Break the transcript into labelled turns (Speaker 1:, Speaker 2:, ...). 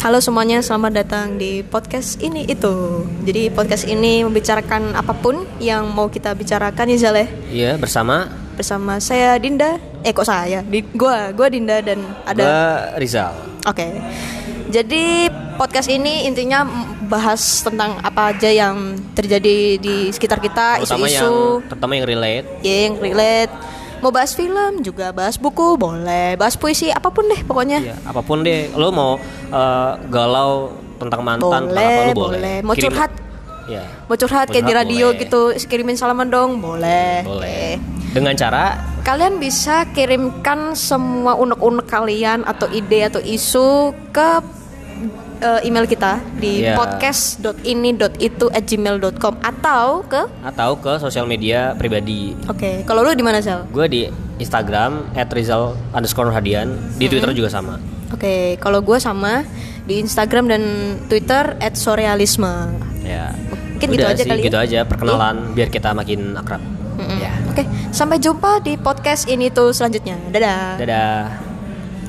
Speaker 1: Halo semuanya, selamat datang di podcast ini itu. Jadi podcast ini membicarakan apapun yang mau kita bicarakan ya Zaleh.
Speaker 2: Iya bersama
Speaker 1: Bersama saya Dinda, eh kok saya? Di, gua, gua Dinda dan ada.
Speaker 2: ada Rizal.
Speaker 1: Oke. Jadi podcast ini intinya m- bahas tentang apa aja yang terjadi di sekitar kita,
Speaker 2: Terutama yang
Speaker 1: Ah, isu-isu,
Speaker 2: terutama yang relate.
Speaker 1: ya, yang relate. Mau bahas film juga, bahas buku boleh, bahas puisi apapun deh pokoknya.
Speaker 2: Iya, apapun deh, lo mau eh, galau tentang mantan, tentang
Speaker 1: Boleh,
Speaker 2: apa lo
Speaker 1: boleh.
Speaker 2: boleh.
Speaker 1: Mau curhat?
Speaker 2: Iya.
Speaker 1: Mau curhat kayak di
Speaker 2: Curhat
Speaker 1: radio
Speaker 2: boleh.
Speaker 1: gitu, kirimin salaman dong, boleh.
Speaker 2: Boleh.
Speaker 1: Eh, Oke.
Speaker 2: Dengan cara
Speaker 1: Kalian bisa kirimkan semua unek-unek kalian atau ide atau isu ke eh, email kita di
Speaker 2: Iya.
Speaker 1: podcast.ini.itu@gmail.com atau ke
Speaker 2: atau ke sosial media pribadi.
Speaker 1: Oke, kalau lu di mana, Sel?
Speaker 2: Gue di Instagram @rizal underscore hadian.
Speaker 1: Mm-hmm.
Speaker 2: Di Twitter juga sama.
Speaker 1: Oke, kalau gue sama di Instagram dan Twitter @sorealisme.
Speaker 2: Ya.
Speaker 1: Mungkin gitu
Speaker 2: Udah
Speaker 1: aja
Speaker 2: sih,
Speaker 1: kali ya. Iya.
Speaker 2: gitu aja perkenalan biar kita makin akrab.
Speaker 1: Mm-mm.
Speaker 2: Ya.
Speaker 1: Oke, sampai jumpa di podcast ini tuh selanjutnya. Dadah.
Speaker 2: Dadah.